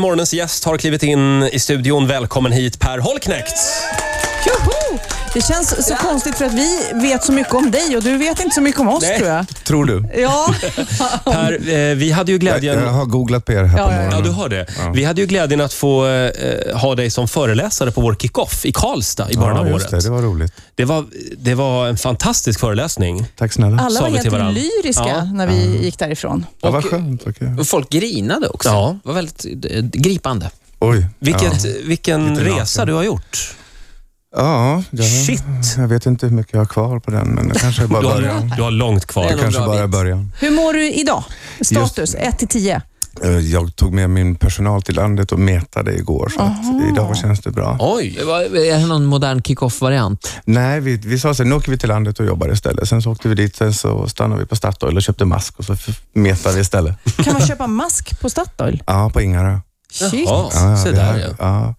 Morgonens gäst har klivit in i studion. Välkommen hit Per Holknekt. Joho! Det känns så konstigt för att vi vet så mycket om dig och du vet inte så mycket om oss Nej. tror jag. Tror du? Ja, Per, eh, vi hade ju Jag, jag glädjen... har googlat på er här Ja, på ja, ja. morgonen. Ja, du har det. Vi hade ju glädjen att få eh, ha dig som föreläsare på vår kickoff i Karlstad i början av ja, just året. det. Det var roligt. Det var, det var en fantastisk föreläsning. Tack snälla. alla Sa var vi till helt varandra. lyriska Ja. Mm. när vi gick därifrån. ja, vad och- skönt. okej. Och Folk grinade också. Ja. Det var väldigt eh, gripande. Oj. Vilket, Ja. Vilken Lite resa naken. du har gjort. ja jag, Shit. jag vet inte hur mycket jag har kvar på den, men det kanske är bara Du har, början. du har långt kvar. Det är Det kanske bra bara är bit. början. Hur mår du idag? Status 1 till 10. Eh, Jag tog med min personal till landet och metade igår, så att idag känns det bra. Oj! Är det någon modern kick-off-variant? Nej, vi, vi sa så här, nu åker vi till landet och jobbar istället. Sen så åkte vi dit, sen så stannade vi på Statoil och köpte mask och så f- metade vi istället. Kan man köpa mask på Statoil? Ja, på Ingarö. Shit. Jaha. Ja, Se vi där, har- ja. ja.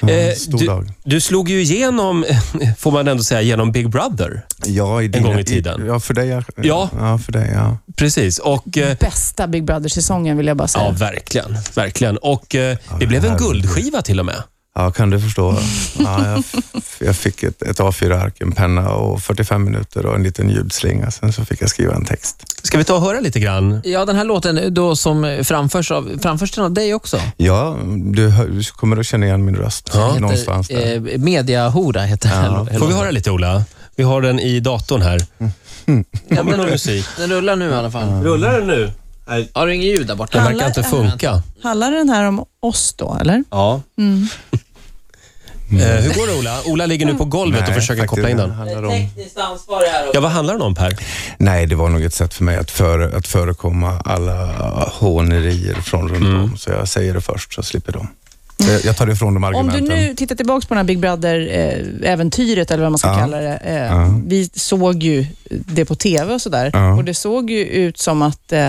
ja. Eh, stor du- dag. Du slog ju igenom, får man ändå säga, genom Big Brother. Ja, i dina, gång i tiden. ja, för dig. Ja. Ja. ja, för dig. Ja. Precis. Och, eh, Bästa Big Brother-säsongen vill jag bara ja, säga. verkligen. verkligen. Och eh, det blev en herregud. guldskiva till och med. ja, kan du förstå. Ja, jag, f- jag fick ett, ett A4-ark, en penna och 45 minuter och en liten ljudslinga. Sen så fick jag skriva en text. Ska vi ta och höra lite grann? Ja, den här låten eh, då som framförs av, framförs den av dig också? Ja, du, hör, du kommer att känna igen min röst Heter, någonstans där. Eh, Mediahora heter Ja. den. Får vi höra lite, Ola? Vi har den i datorn här. Kommer någon musik? Den rullar nu i alla fall. Rullar den nu? Har du inget ljud där borta? Den verkar inte funka. Handlar den här om oss då, eller? Ja. Eh, hur går det, Ola? Ola ligger nu på golvet och försöker faktiskt, koppla in den. handlar om- ansvarig här. Ja, vad handlar den om, Per? Nej, det var nog ett sätt för mig att, före, att förekomma alla hånerier från runt Mm. om. Så jag säger det först, så slipper de. Jag, jag tar ifrån dem Om du argumenten. nu tittar tillbaka på den här Big Brother-äventyret, eller vad man ska Ja. kalla det. Eh, Ja. Vi såg ju det på TV och sådär. Ja. Och det såg ju ut som att eh,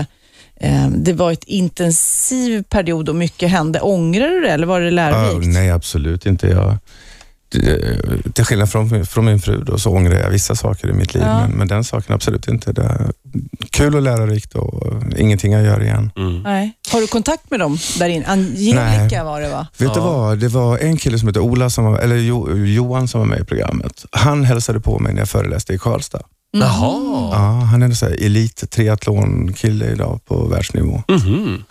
eh, det var ett intensiv period och mycket hände. Ångrar du det eller var det Ja, lärorikt? nej, absolut inte. Jag, det- till skillnad från, från min fru då, så ångrar jag vissa saker i mitt liv, Ja. men, men den saken absolut inte. Det är kul och lärorikt och ingenting jag gör igen. Nej. Har du kontakt med dem där inne? Angelica Nej. var det va? Vet du Ja. vad? Det var en kille som hette Ola, som var, eller jo, Johan som var med i programmet. Han hälsade på mig när jag föreläste i Karlstad. Jaha. Ja, han är en sån här elit triathlonkille idag på världsnivå. Mhm.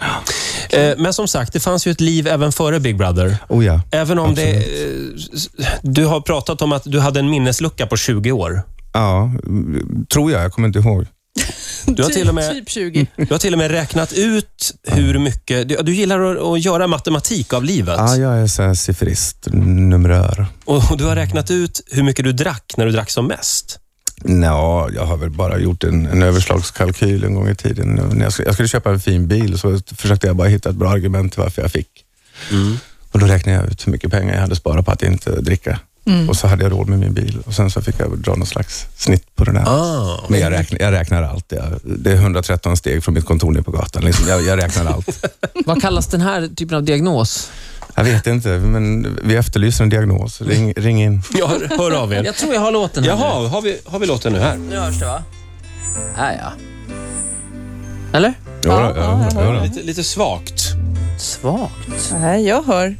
Eh, men som sagt, det fanns ju ett liv även före Big Brother. Oh ja. Även om det, eh, s- du har pratat om att du hade en minneslucka på 20 år. ja, mm, tror jag. Jag kommer inte ihåg. Du har till och med- Typ 20. Du har till och med räknat ut hur mycket... Du, du gillar att, att göra matematik av livet. Ja, jag är sån här siffrist, numerör. Och Du har räknat ut hur mycket du drack när du drack som mest. Nå, jag har väl bara gjort en, en överslagskalkyl en gång i tiden. När jag, skulle, jag skulle köpa en fin bil så försökte jag bara hitta ett bra argument till varför jag fick. Mm. Och Då räknade jag ut hur mycket pengar jag hade sparat på att inte dricka. Och så hade jag råd med min bil och sen så fick jag dra någon slags snitt på det där. Ah. Men jag räknar, jag räknar allt. Jag, det är 113 steg från mitt kontor ner på gatan. Liksom. Jag, jag räknar allt. Vad kallas den här typen av diagnos? Jag vet inte, men vi efterlyser en diagnos. Ring, ring in. Ja, hör- hör av er. Jag tror jag har låten här Jaha, har vi, har vi låten nu här? nu. Nu hörs det va? Här ja. Eller? Jo, Ja, ja, jag hör Lite, lite svagt. Svagt. Mm. Nej, jag hör.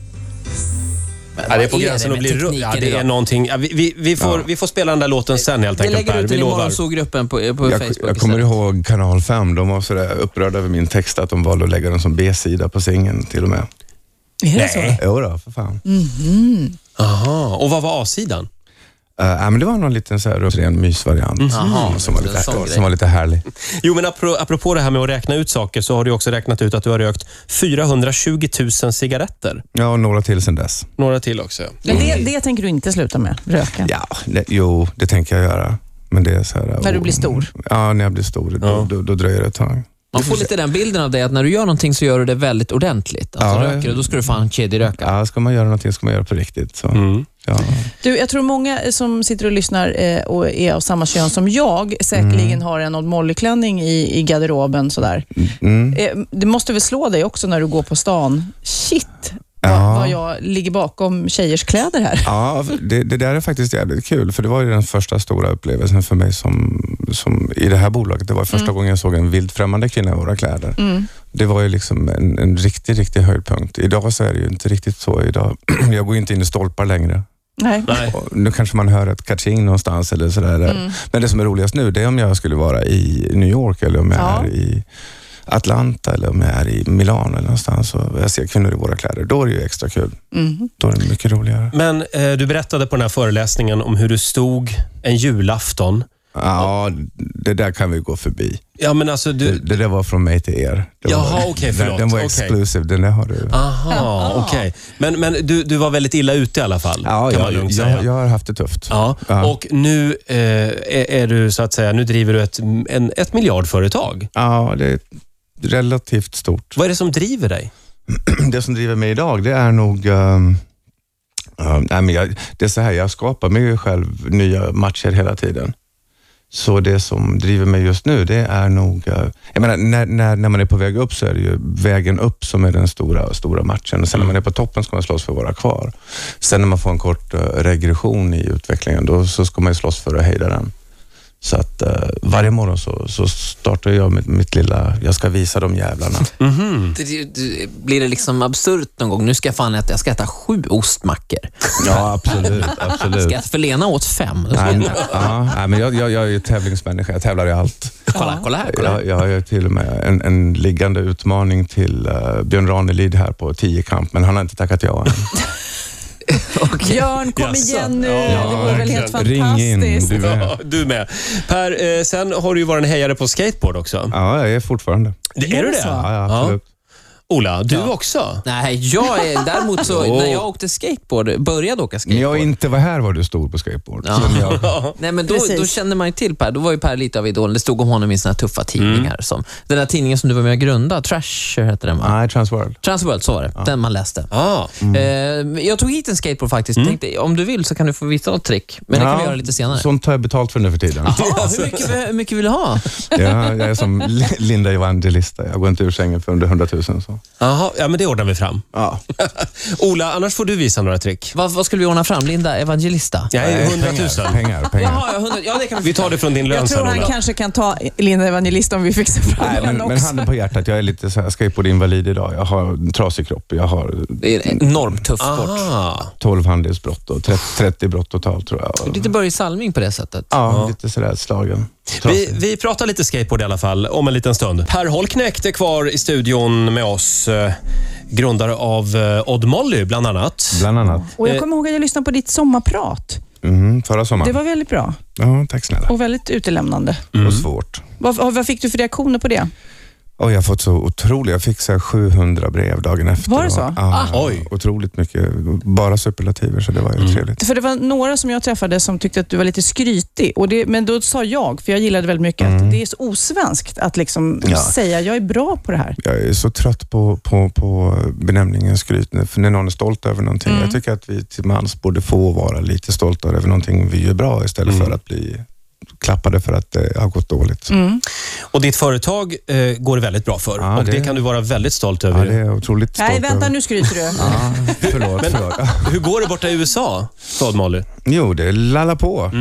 Ja, det är på Vad gränsen med att bli ru- tekniken ja, det är idag? någonting. Ja, vi, vi, vi, får, vi får spela den där låten sen helt Vi enkelt, lägger Per. ut Vi den i lovar. morgonsågruppen på, eh, på Jag, Facebook jag kommer istället. ihåg Kanal 5. De var så där upprörda över min text att de valde att lägga den som B-sida på sängen till och med. Är det så? Nej. Jo då, för fan. Aha. Och vad var A-sidan? Eh, äh, men det var någon liten så här, ren mysvariant Mm. Jaha, som, var en lite, sån grej. som var lite härlig. Jo, men apro- apropå det här med att räkna ut saker så har du också räknat ut att du har rökt 420 000 cigaretter. Ja, och några till sen dess. Några till också. ja. Men det, det tänker du inte sluta med, röka? Ja, det, jo, det tänker jag göra. Men det är så här, När du blir stor? Ja, när jag blir stor. Ja. Då, då, då dröjer det ett tag. Man får lite den bilden av dig att när du gör någonting så gör du det väldigt ordentligt. Alltså Ja, röker du, då ska du fan kedjeröka. Ja, ska man göra någonting ska man göra på riktigt. Så. Mm. Ja. Du, jag tror många som sitter och lyssnar eh, och är av samma kön som jag säkerligen har en Odd Molly-klänning i, i garderoben. Sådär. Mm. Eh, det måste väl slå dig också när du går på stan. Shit, vad, Ja. vad jag ligger bakom tjejers kläder här. Ja, det, det där är faktiskt jävligt kul, för det var ju den första stora upplevelsen Mm. för mig som, som i det här bolaget. Det var första gången jag såg en vilt främmande kvinna i våra kläder. det var ju liksom en, en riktig, riktig höjdpunkt. Idag så är det ju inte riktigt så. Idag, jag går ju inte in i stolpar längre. Nej. Nej. Och nu kanske man hör ett kaching någonstans eller sådär. Mm. Men det som är roligast nu, det är om jag skulle vara i New York eller om jag Ja. är i Atlanta eller om jag är i Milano eller någonstans och jag ser kvinnor i våra kläder. Då är det ju extra kul. Mm. Då är det mycket roligare. Men eh, du berättade på den här föreläsningen om hur du stod en julafton. Ja, det där kan vi gå förbi. Ja, men alltså Det, du... det där var från mig till er. Det Jaha, var- okej, den, förlåt. den var Okej. exclusive, den där har du. Aha, okej. Men, men du, du var väldigt illa ute i alla fall, Ja, kan jag, man lugnt säga. jag, jag har haft det tufft. Ja, Ja. och nu eh, är, är du så att säga, nu driver du ett, en, ett miljardföretag. Ja, det är relativt stort. Vad är det som driver dig? Det som driver mig idag, det är nog... ehm, ehm, nej, men jag, det är så här, jag skapar mig ju själv nya matcher hela tiden. Så det som driver mig just nu, det är nog... eh, jag menar, när, när, när man är på väg upp så är det ju vägen upp som är den stora, stora matchen. Och sen när man är på toppen ska man slåss för att vara kvar. Sen när man får en kort eh, regression i utvecklingen, då så ska man ju slåss för att hejda den. Så att eh, varje morgon så, så startar jag med mitt lilla, jag ska visa de jävlarna. Det- det- Blir det liksom absurt någon gång? Nu ska jag fan äta, jag ska äta sju ostmackor. Ja, absolut. Jag absolut. ska äta, för Lena åt fem. Då ska Nej, jag- men, ja, nej, men jag, jag, jag är ju tävlingsmänniska, jag tävlar i allt. Kolla, kolla Ah, här. Kolla. Jag, jag har ju till och med en, en liggande utmaning till eh, Björn Ranelid här på 10 kamp, men han har inte tackat ja än. Björn, kom Jaså? igen nu. Ja, det vore väl helt Ring in, fantastiskt. du är. Ja, du med. Per, eh, sen har du ju varit en hejare på skateboard också. Ja, jag är fortfarande. Det, är du det? Ja, ja, absolut. Ola, du också? Nej, jag är, däremot så, Jo. när jag åkte skateboard, började åka När jag skateboard. inte var här var du stor på skateboard. Ja. Men jag, Nej, men då, Precis. då kände man ju till Per. Då var ju Per lite av idolen. Det stod om honom i såna här tuffa tidningar. Mm. Som, den där tidningen som du var med och grundade, Trasher hette den va? nej, Transworld. Transworld, så var det. Den man läste. Ja. Eh, jag tog hit en skateboard faktiskt. Tänkte, om du vill så kan du få visa något trick. Men det kan vi göra lite senare. Sånt tar jag betalt för nu för tiden. Ja, hur, mycket, hur mycket vill du ha? Ja, jag är som Li- Linda Evangelista, jag går inte ur sängen för under 100 000. Så. Jaha, ja men det ordnar vi fram. Ja. Ola, annars får du visa några trick. Vad, vad skulle vi ordna fram? Linda Evangelista? Nej, 100 000. Pengar, pengar. pengar. Jaha, ja, 100, ja, det kan vi Vi tar det från din lön Jag tror sen, han Ola. kanske kan ta Linda Evangelista om vi fixar fram Nej, men, honom men också. handen på hjärtat, jag är lite så här skateboardinvalid idag. Jag har en trasig kropp, jag har Det är en enormt tuff sport. Ah. 12 handelsbrott och 30, 30 brott totalt tror jag. Lite Börje Salming på det sättet. Ja, lite sådär slagen. Vi, Trasig. vi pratar lite skateboard i alla fall om en liten stund. Per Holknekt är kvar i studion med oss. eh, Grundare av eh, Odd Molly bland annat. Bland annat. Och jag kommer ihåg att jag lyssnade på ditt sommarprat. Mm, förra Det sommaren. var väldigt bra Ja, tack snälla. och väldigt utelämnande. Och svårt. Vad, vad fick du för reaktioner på det? Och jag har fått så otroligt, jag fick så här 700 brev dagen efter. Var det så? Ah. Och, ja, Oj. Otroligt mycket, bara superlativer så det var ju trevligt. För det var några som jag träffade som tyckte att du var lite skrytig. Och det, men då sa jag, för jag gillade väldigt mycket, att det är så osvenskt att liksom Mm. Ja. säga jag är bra på det här. Jag är så trött på, på, på benämningen skryt, nu, för när någon är stolt över någonting. Mm. Jag tycker att vi till mans borde få vara lite stolta över någonting vi gör bra istället för att bli klappade för att det har gått dåligt. Mm. Och ditt företag eh, går det väldigt bra för. Ja, och det... det- kan du vara väldigt stolt Ja, över. det är jag otroligt stolt Nej, vänta över. nu skryter du. Ja, förlåt, förlåt. Hur går det borta i USA, Todd Molly? Jo, det lallar på.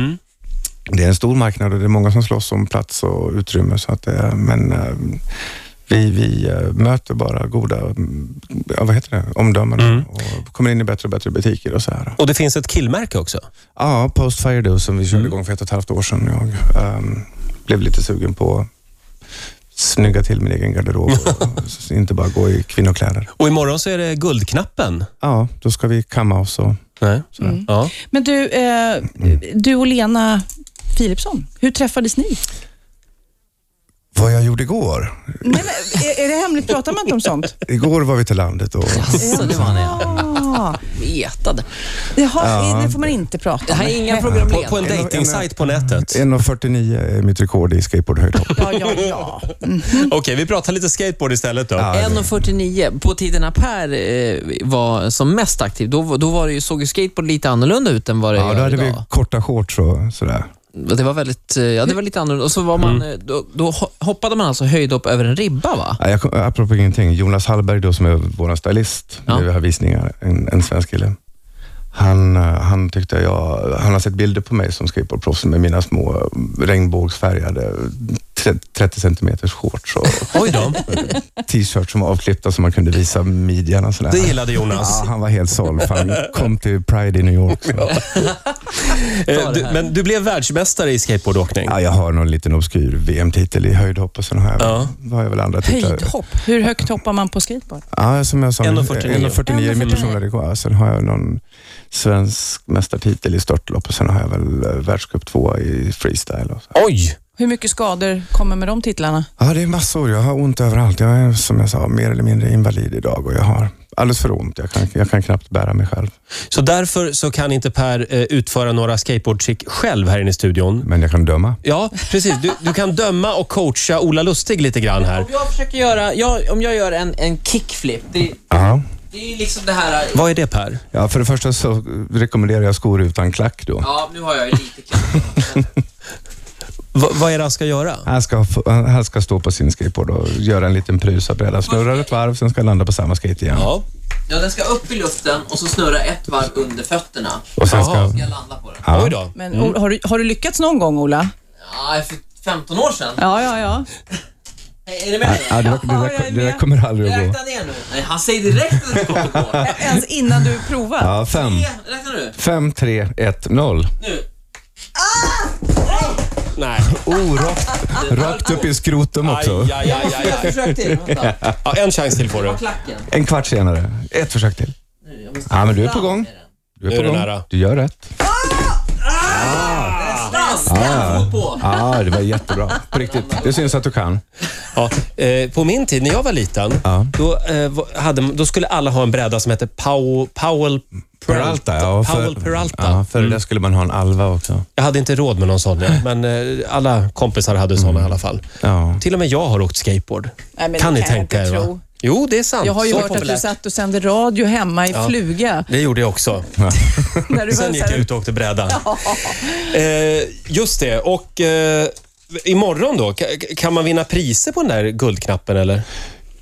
Det är en stor marknad och det är många som slåss om plats och utrymme. Så att det är, men eh, vi, vi eh, möter bara goda mm, ja, vad heter det? omdömen och kommer in i bättre och bättre butiker. och så här. Och det finns ett killmärke också. Ja, Post Fire Do som vi körde igång för ett och ett halvt år sedan. Jag ehm, blev lite sugen på att snygga till min egen garderob och s- inte bara gå i kvinnokläder. Och imorgon så är det Guldknappen. Ja, då ska vi kamma oss och Nej. Ja. Men du, eh, Mm. du och Lena Philipsson, hur träffades ni? vad jag gjorde igår. Nej, men, är, är det hemligt? Pratar man inte om sånt? Igår var vi till landet och Så det var han jag Ah, vetade. jaha, eh, det får man inte prata Det om. här är inga problem. På, på en dejtingsajt på nätet. 1,49 är mitt rekord i skateboardhöjdhopp. Ja, ja, ja. Okej, vi pratar lite skateboard istället då. 1.49. På tiden när Per eh, var som mest aktiv, då, då var det ju, såg ju skateboard lite annorlunda ut än vad det Ja, gör då hade vi idag. korta shorts och sådär. Och Det var väldigt, eh, ja det var lite annorlunda. Och så var man, eh, då, då ho- hoppade man alltså höjdhopp över en ribba va? Ja, jag kom, apropå ingenting, Jonas Hallberg då som är vår stylist Ja. när vi har visningar, en, en svensk kille. Han, eh, han tyckte jag, han har sett bilder på mig som skateboardproffs med mina små eh, regnbågsfärgade tre- 30 centimeters shorts och Oj då. t-shirt som var avklippta så man kunde visa midjan och sådär. Det gillade Jonas. Ja, han var helt såld. för Han kom till Pride i New York. Så. Eh, du, men du blev världsmästare i skateboardåkning. Ja, jag har någon liten obskyr VM-titel i höjdhopp och sen har jag, Ja. har jag väl andra titlar. Höjdhopp. Hur högt hoppar man på skateboard? Ja, som jag sa, 1,49. 1,49 är min personliga rekord. Sen har jag någon svensk mästartitel i störtlopp och sen har jag väl eh, världscup tvåa i freestyle. Och så. Oj! Hur mycket skador kommer med de titlarna? Ja, det är massor. Jag har ont överallt. Jag är som jag sa mer eller mindre invalid idag och jag har alldeles för ont. Jag kan, jag kan knappt bära mig själv. Så därför så kan inte Per eh, utföra några skateboardtrick själv här inne i studion. Men jag kan döma. Ja, precis. Du, du kan döma och coacha Ola Lustig lite grann här. Om jag försöker göra, jag, om jag gör en, en kickflip, det, Ja. det är ju liksom det här... Vad är det Per? ja, för det första så eh, rekommenderar jag skor utan klack då. Ja, nu har jag ju lite kanske. Va, vad är det han ska göra? Han ska, få- han ska stå på sin skateboard och göra en liten prusabräda. Snurrar ett varv, sen ska han landa på samma skate igen. Ja. Ja, den ska upp i luften och så snurra ett varv under fötterna. Och sen ska... Jaha. Jag landa på den. Ja. Oj då. Men, Mm. o- har, du, har du lyckats någon gång, Ola? Ja, för 15 år sedan. Ja, ja, ja. Är det med? Ja, det, där, det, jag där, är det där med. kommer aldrig att gå. Räkna ner nu. Nej, han säger direkt att det kommer gå. Ens innan du provat? Ja, fem. Räkna nu. Fem, tre, ett, noll. Nu. Nej. Oh, rakt, rakt upp i skrotum Aj, också. aj, aj, aj, Jag aj. försökte till. Vänta. Ja, en chans till får du. På klacken. En kvart senare. Ett försök till. Nu, jag måste- Ja, men du är på gång. Du Nu är är på du gång. nära. Du gör rätt. Stanna på. Ja, Ah, det var jättebra. På riktigt. Det syns att du kan. Ja, eh, på min tid, när jag var liten, Ja. då, eh, var- hade, då skulle alla ha en bräda som hette Powell, Powell Peralta. ja. Powell Peralta. Ja, för det där skulle man ha en Alva också. Jag hade inte råd med någon sån, ja, men eh, alla kompisar hade såna i alla fall. Ja. Till och med jag har åkt skateboard. Nej, men kan det ni kan jag tänka inte er? Va? tro. Jo, det är sant. Jag har ju Så hört att du populärt. satt och sände radio hemma i fluga. Det gjorde jag också. När du Sen var gick så jag här, ut och åkte bräda. eh, just det. Och eh, imorgon då, ka- kan man vinna priser på den där guldknappen eller?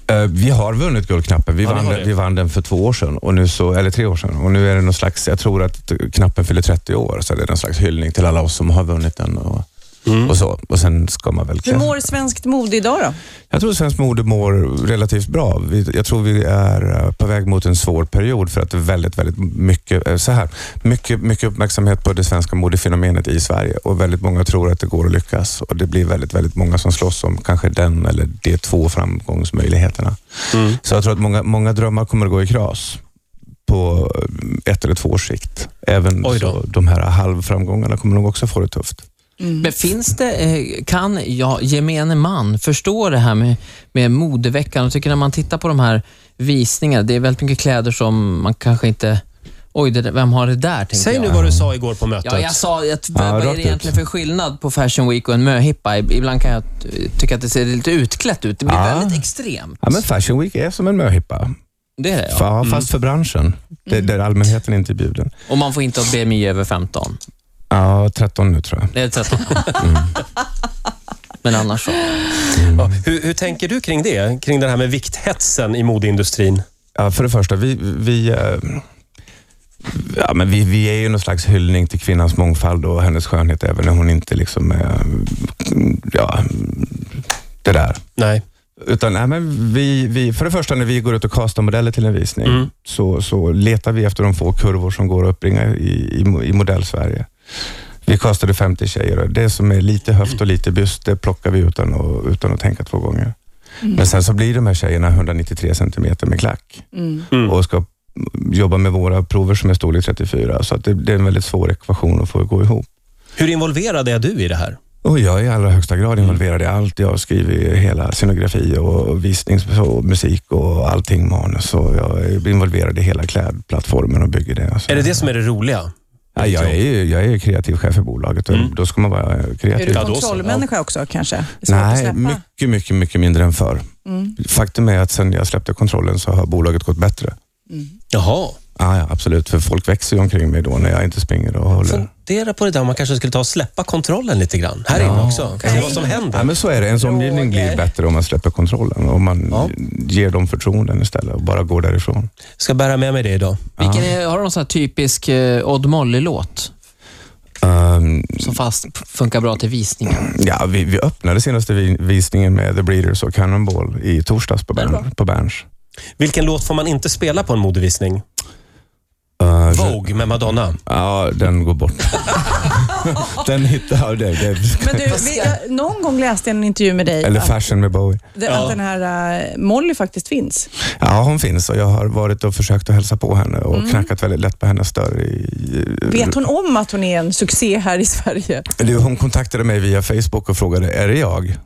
Eh, Vi har vunnit Guldknappen. Vi, Ja, ni vann, har den- det. vi vann den för två år sedan, och nu så, eller tre år sedan. Och nu är det någon slags, jag tror att knappen fyller 30 år, så det är någon slags hyllning till alla oss som har vunnit den. Och, Mm. och så. Och sen ska man väl hur mår svenskt mode idag då? Jag tror svensk mode mår relativt bra. Vi- Jag tror vi är eh, på väg mot en svår period för att det är väldigt, väldigt mycket, eh, så här, mycket, mycket uppmärksamhet på det svenska modefenomenet i Sverige och väldigt många tror att det går att lyckas och det blir väldigt, väldigt många som slåss om kanske den eller de två framgångsmöjligheterna. Så jag tror att många, många drömmar kommer att gå i kras på eh, ett eller två års sikt. Även Oj då. så de här halvframgångarna kommer nog också få det tufft. Men finns det, eh, kan ja, gemene man förstå det här med, med modeveckan? Jag tycker när man tittar på de här visningarna, det är väldigt mycket kläder som man kanske inte... Oj, det, där- vem har det där? tänker Säg jag. nu vad du sa igår på mötet. Ja, jag sa att Ja, vad är rakt det ut. egentligen för skillnad på Fashion Week och en möhippa? Ib- Ibland kan jag t- tycka att det ser lite utklätt ut. Det blir Ja. väldigt extremt. Ja, men Fashion Week är som en möhippa. Det är det, ja. Ja, fast för branschen. Det, där allmänheten inte är bjuden. Och man får inte ha BMI över 15. Ja, 13 nu tror jag. Det är 13. Mm. Men annars så. Ja, hur, hur tänker du kring det? Kring det här med vikthetsen i modeindustrin? Ja, för det första, vi, vi, eh, ja, men vi, vi är ju någon slags hyllning till kvinnans mångfald och hennes skönhet, även när hon inte liksom är, ja, det där. Nej. Utan, nej, men vi, vi, för det första, när vi går ut och kastar modeller till en visning, Mm. så, så letar vi efter de få kurvor som går att uppbringa i, i, mo- i modellsverige. Vi kastade 50 tjejer och det som är lite höft och lite byst, det plockar vi utan att, utan att tänka två gånger. Men sen så blir de här tjejerna 193 centimeter med klack Mm. Mm. och ska jobba med våra prover som är storlek 34, så att det, det är en väldigt svår ekvation att få gå ihop. Hur involverad är du i det här? Och jag är i allra högsta grad involverad i allt. Jag skriver hela scenografi och visnings och musik och allting, manus. Och jag är involverad i hela klädplattformen och bygger det. Så- Är det det som är det roliga? Ja, Liksom. jag, är ju, jag är ju kreativ chef för bolaget och då ska man vara Mm. Är du kreativ. Ja, då så, kontrollmänniska också kanske? Det är svårt att Nej, släppa. Mm. mycket, mycket, mycket mindre än förr. Faktum är att sen jag släppte kontrollen så har bolaget gått bättre. Jaha. Ja, ja, absolut. För folk växer ju omkring mig då när jag inte springer och håller. Fundera på det där om man kanske skulle ta och släppa kontrollen lite grann. Här inne också. Kan se vad som händer. Ja, men så är det. Ens omgivning blir bättre om man släpper kontrollen och man Ja. ger dem förtroenden istället och bara går därifrån. Ska bära med mig det idag. Vilken är, har du någon sån här typisk eh, Odd Molly-låt? Ehm, som fast funkar bra till visningen. ja, vi, vi öppnade senaste vi, visningen med The Breeders och Cannonball i torsdags på, Bern, på Berns. Vilken låt får man inte spela på en modevisning? Ehm, Vogue med Madonna. Ja, den går bort. den hittar jag dig. Det- Men du, vi, jag, någon gång läste jag en intervju med dig Eller att, Fashion med Bowie. det- att den här eh, Molly faktiskt finns. Ja, hon finns och jag har varit och försökt att hälsa på henne och Mm. knackat väldigt lätt på hennes dörr. i- eh, Vet hon om att hon är en succé här i Sverige? Du, hon kontaktade mig via Facebook och frågade, är det jag?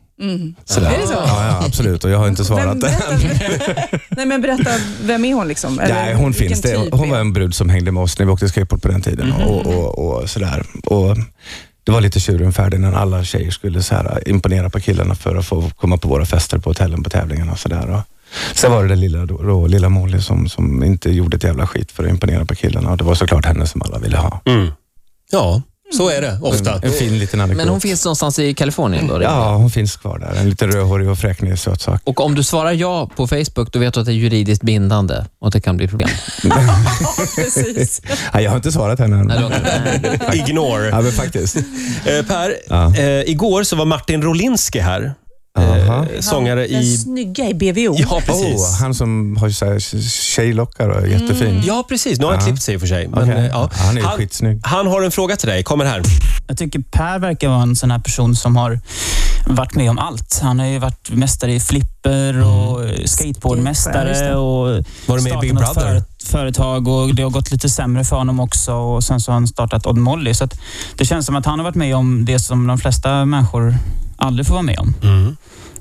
Sådär. Mm. Är det så? Ja, ja, absolut. Och jag har inte Vem, svarat. berätta, nej, men berätta, vem är hon liksom? Eller Nej, hon vilken finns. Det, typ hon är- Mhm. var en brud som hängde med oss när vi åkte skateboard på den tiden. Och, och, och sådär. Och det var lite tjuren färdig när alla tjejer skulle så här, eh, imponera på killarna för att få komma på våra fester på hotellen på tävlingarna. Och sådär. Och sen var det den lilla, då, då, lilla Molly som, som inte gjorde ett jävla skit för att imponera på killarna. Och det var såklart henne som alla ville ha. Mm. Ja, så är det ofta. En fin liten anekdot. Men hon finns någonstans i Kalifornien då? rimligen. Ja, hon finns kvar där. En lite rödhårig och fräknig sötsak. Och om du svarar ja på Facebook, då vet du att det är juridiskt bindande och att det kan bli problem. Precis. Nej, jag har inte svarat henne än. Nej, det var inte- nej. Ignore. Ja, men faktiskt. Eh, per, Ja. eh, igår så var Martin Rolinski här. Aha. Eh, sångare Den i... snygga i BVO. Ja, precis. Oh, han som har så här tjejlockar och är jättefin. Ja, precis. Nu har han Ja. klippt sig i och för sig. Men, Okej. eh, ja. Han är ju han, skitsnygg. han har en fråga till dig. Kommer här. Jag tycker Per verkar vara en sån här person som har varit med om allt. Han har ju varit mästare i flipper och Skateboard, just det. skateboardmästare och Var du med i startat Big något Brother? före- företag och det har gått lite sämre för honom också och sen så har han startat Odd Molly. Så att det känns som att han har varit med om det som de flesta människor aldrig får vara med om. Mm.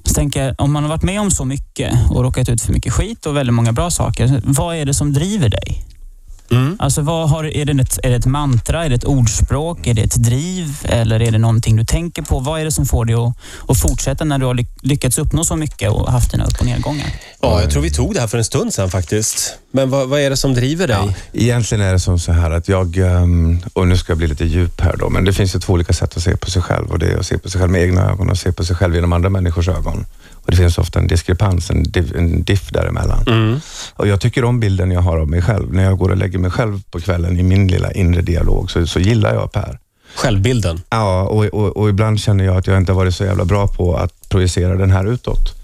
Så tänker jag, om man har varit med om så mycket och råkat ut för mycket skit och väldigt många bra saker, vad är det som driver dig? Mm. Alltså vad har, är, det ett, är det ett mantra, är det ett ordspråk, är det ett driv eller är det någonting du tänker på? Vad är det som får dig att, att fortsätta när du har lyck- lyckats uppnå så mycket och haft dina upp och nedgångar? Ja, jag tror vi tog det här för en stund sedan faktiskt. Men vad, vad är det som driver dig? Egentligen är det som så här att jag, ehm, och nu ska jag bli lite djup här då, men det finns ju två olika sätt att se på sig själv och det är att se på sig själv med egna ögon och se på sig själv genom andra människors ögon. Och det finns ofta en diskrepans, en diff, en diff däremellan. Mm. Och jag tycker om bilden jag har av mig själv. När jag går och lägger mig själv på kvällen i min lilla inre dialog så, så gillar jag Per. Självbilden. Ja, och, och, och ibland känner jag att jag inte har varit så jävla bra på att projicera den här utåt.